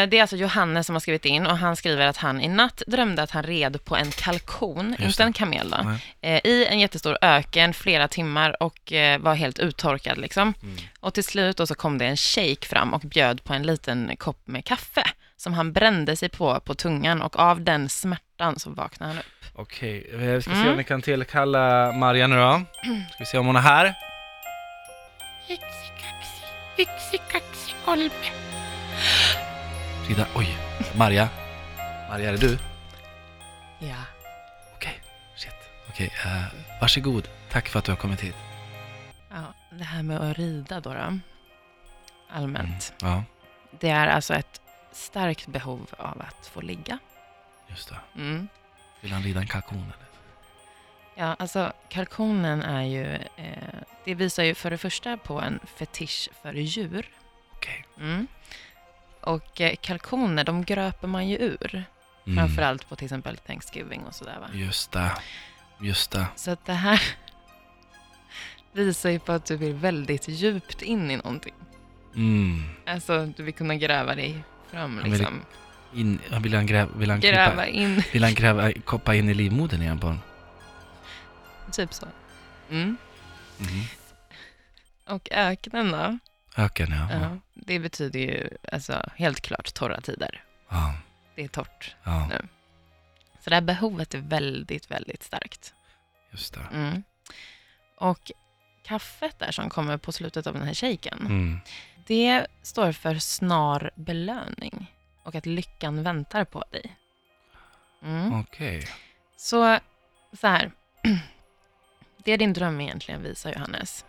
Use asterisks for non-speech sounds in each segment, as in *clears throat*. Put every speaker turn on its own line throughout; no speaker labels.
Eh, Det är alltså Johannes som har skrivit in och han skriver att han i natt drömde att han red på en kalkon, inte en kamel då, eh, i en jättestor öken flera timmar och eh, var helt uttorkad liksom.
Mm.
Och till slut då så kom det en shejk fram och bjöd på en liten kopp med kaffe som han brände sig på, på tungan och av den smärtan så vaknade han upp.
Okej, vi ska se om vi kan tillkalla Maria nu då. Ska vi se om hon är här.
Yxikaxi, yxikaxi, kolpe.
Frida, oj, Maria. Maria, är det du?
Ja.
Okej, shit. Okej, eh, varsågod. Tack för att du har kommit hit.
ja. Det här med att rida då, då allmänt.
Ja,
Det är alltså ett starkt behov av att få ligga.
just det.
Mm.
Vill han rida en kalkon eller?
Ja, alltså kalkonen är ju, eh, det visar ju för det första på en fetisch för djur.
Okej.
Mm. Och eh, kalkoner, de gröper man ju ur.
Mm,
Framförallt på till exempel Thanksgiving och sådär va.
Just det. Just det.
Så att det här *laughs* visar ju på att du vill väldigt djupt in i någonting.
Mm.
Alltså, du vill kunna gräva dig fram
vill
liksom.
In, vill han gräva, vill han
Gräva
krypa,
in,
vill han gräva, koppa in i livmodern igen på honom?
*laughs* typ så. Mm.
Mm.
Och öknen då?
Öken, ja. Ja.
Ja, det betyder ju alltså helt klart torra tider.
ja.
Det är torrt.
ja.
Så det här behovet är väldigt, väldigt starkt.
Just det.
Mm. Och kaffet där som kommer på slutet av den här shaken,
Mm.
det står för snar belöning och att lyckan väntar på dig. Mm.
Okej.
Så, så här. *clears throat* Det din dröm egentligen visar, Johannes,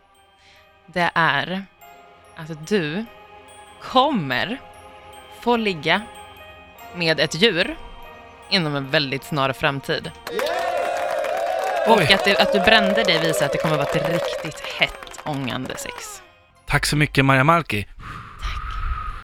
det är att du kommer få ligga med ett djur inom en väldigt snar framtid. Och
Oj,
att, det, att du brände dig visar att det kommer att vara ett riktigt hett ångande sex.
tack så mycket Maria Malki.